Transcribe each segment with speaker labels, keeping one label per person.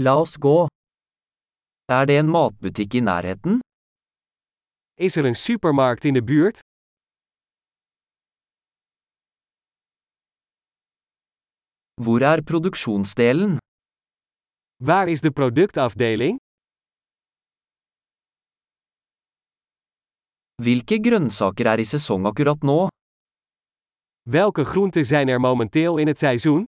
Speaker 1: La oss gå. Er det en matbutikk i nærheten?
Speaker 2: Is er een supermarkt in de buurt?
Speaker 1: Hvor er produksjonsdelen?
Speaker 2: Waar is de productafdeling?
Speaker 1: Hvilke grønnsaker er i sesong akkurat nå?
Speaker 2: Welke groenten zijn er momenteel in het seizoen?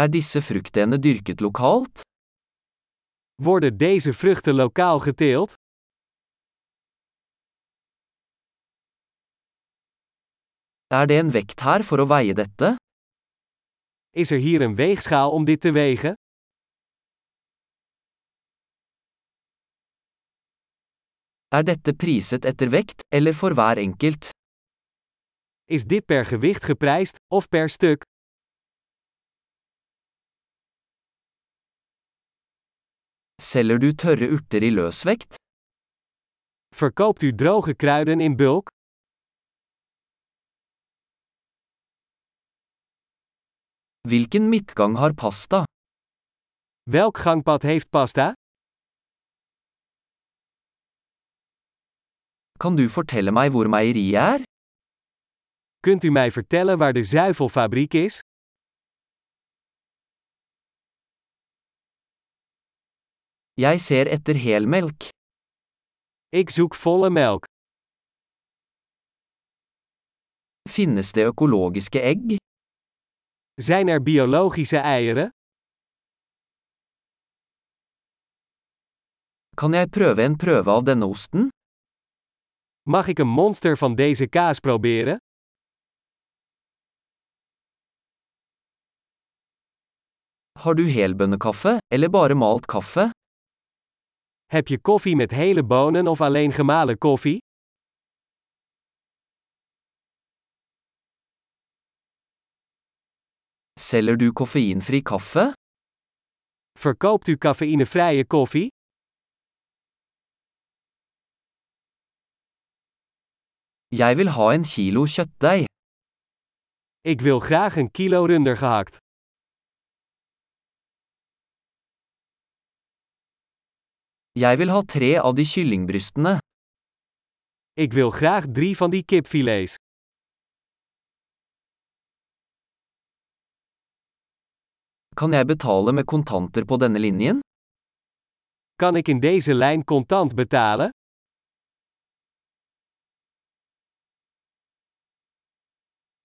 Speaker 1: Er disse fruktene dyrket lokalt?
Speaker 2: Worden deze vruchten lokaal geteeld?
Speaker 1: Er det en vekt her for å veie dette?
Speaker 2: Is er hier een weegschaal om dit te wegen?
Speaker 1: Er dette priset etter vekt, eller for hver enkelt?
Speaker 2: Is dit per gewicht geprijsd of per stuk?
Speaker 1: Selger du tørre urter i løsvekt?
Speaker 2: Verkoopt u droge kruiden in bulk?
Speaker 1: Hvilken midtgang har pasta?
Speaker 2: Welk gangpad heeft pasta?
Speaker 1: Kan du fortelle meg hvor meieriet er?
Speaker 2: Kunt u mij vertellen waar de zuivelfabriek is?
Speaker 1: Jeg ser etter helmelk.
Speaker 2: Ik zoek volle melk.
Speaker 1: Finnes det økologiske egg?
Speaker 2: Zijn er biologische eieren?
Speaker 1: Kan jeg prøve en prøve av denne osten?
Speaker 2: Mag ik een monster van deze kaas proberen?
Speaker 1: Har du helbønnekaffe, eller bare malt kaffe?
Speaker 2: Heb je koffie met hele bonen of alleen gemalen koffie?
Speaker 1: Selger du koffeinfri kaffe?
Speaker 2: Verkoopt u cafeïnevrije koffie?
Speaker 1: Jeg vil ha en kilo kjøttdeig.
Speaker 2: Ik wil graag een kilo runder gehakt.
Speaker 1: Jeg vil ha tre av de kyllingbrystene.
Speaker 2: Ik wil graag drie van die kipfilets.
Speaker 1: Kan jeg betale med kontanter på denne linjen?
Speaker 2: Kan ik in deze lijn contant betalen?